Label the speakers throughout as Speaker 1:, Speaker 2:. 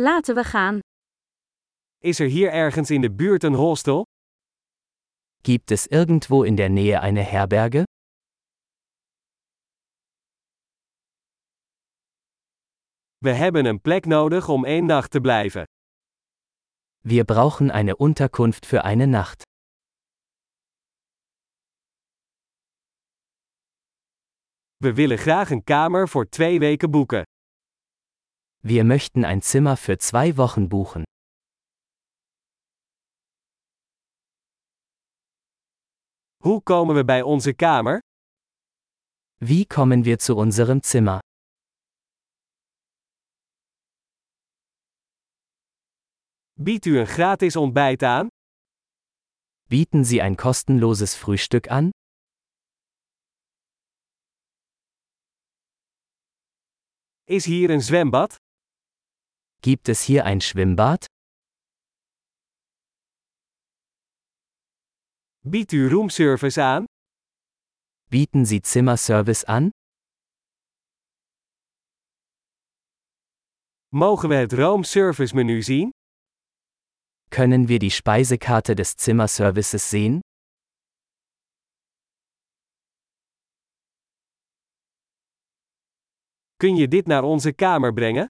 Speaker 1: Laten we gaan.
Speaker 2: Is er hier ergens in de buurt een hostel?
Speaker 3: Gibt es irgendwo in der Nähe eine Herberge?
Speaker 2: We hebben een plek nodig om één nacht te blijven.
Speaker 3: Wir brauchen eine Unterkunft für eine Nacht.
Speaker 2: We willen graag een kamer voor twee weken boeken.
Speaker 3: Wir möchten ein Zimmer für zwei Wochen buchen.
Speaker 2: Hoe komen we bij onze kamer?
Speaker 3: Wie kommen wir zu unserem Zimmer?
Speaker 2: Biedt u een gratis ontbijt aan?
Speaker 3: Bieten Sie ein kostenloses Frühstück an?
Speaker 2: Is hier een zwembad?
Speaker 3: Gibt es hier ein Schwimmbad?
Speaker 2: Biedt u roomservice aan?
Speaker 3: Bieten Sie Zimmerservice an?
Speaker 2: Mogen we het roomservice menu zien?
Speaker 3: Können wir die Speisekarte des Zimmerservices sehen?
Speaker 2: Kun je dit naar onze kamer brengen?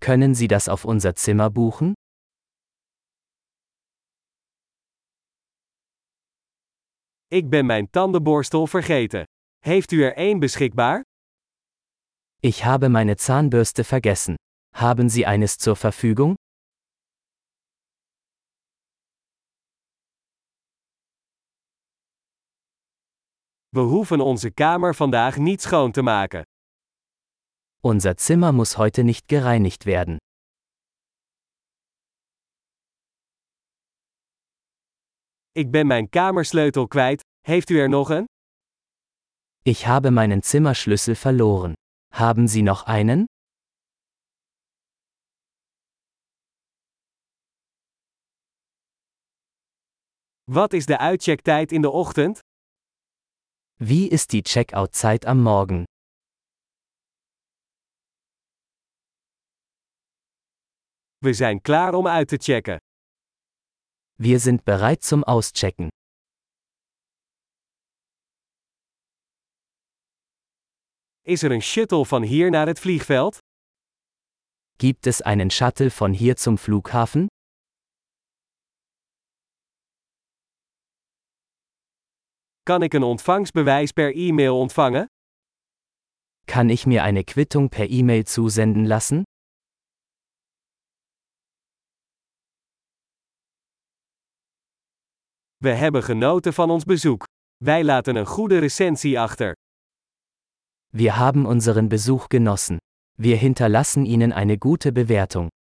Speaker 3: Können Sie das auf unser Zimmer buchen?
Speaker 2: Ik ben mijn tandenborstel vergeten. Heeft u er één beschikbaar?
Speaker 3: Ich habe meine Zahnbürste vergessen. Haben Sie eines zur Verfügung?
Speaker 2: We hoeven onze kamer vandaag niet schoon te maken.
Speaker 3: Unser Zimmer muss heute nicht gereinigt werden.
Speaker 2: Ik ben mijn kamersleutel kwijt. Heeft u er nog een?
Speaker 3: Ich habe meinen Zimmerschlüssel verloren. Haben Sie noch einen?
Speaker 2: Wat is de uitchecktijd in de ochtend?
Speaker 3: Wie ist die Checkout-Zeit am Morgen?
Speaker 2: We zijn klaar om uit te checken.
Speaker 3: Wir sind bereit zum Auschecken.
Speaker 2: Is er een shuttle van hier naar het vliegveld?
Speaker 3: Gibt es einen Shuttle von hier zum Flughafen?
Speaker 2: Kan ik een ontvangstbewijs per e-mail ontvangen?
Speaker 3: Kann ich mir eine Quittung per E-Mail zusenden lassen?
Speaker 2: We hebben genoten van ons bezoek. Wij laten een goede recensie achter.
Speaker 3: Wir haben unseren Besuch genossen. Wir hinterlassen Ihnen eine gute Bewertung.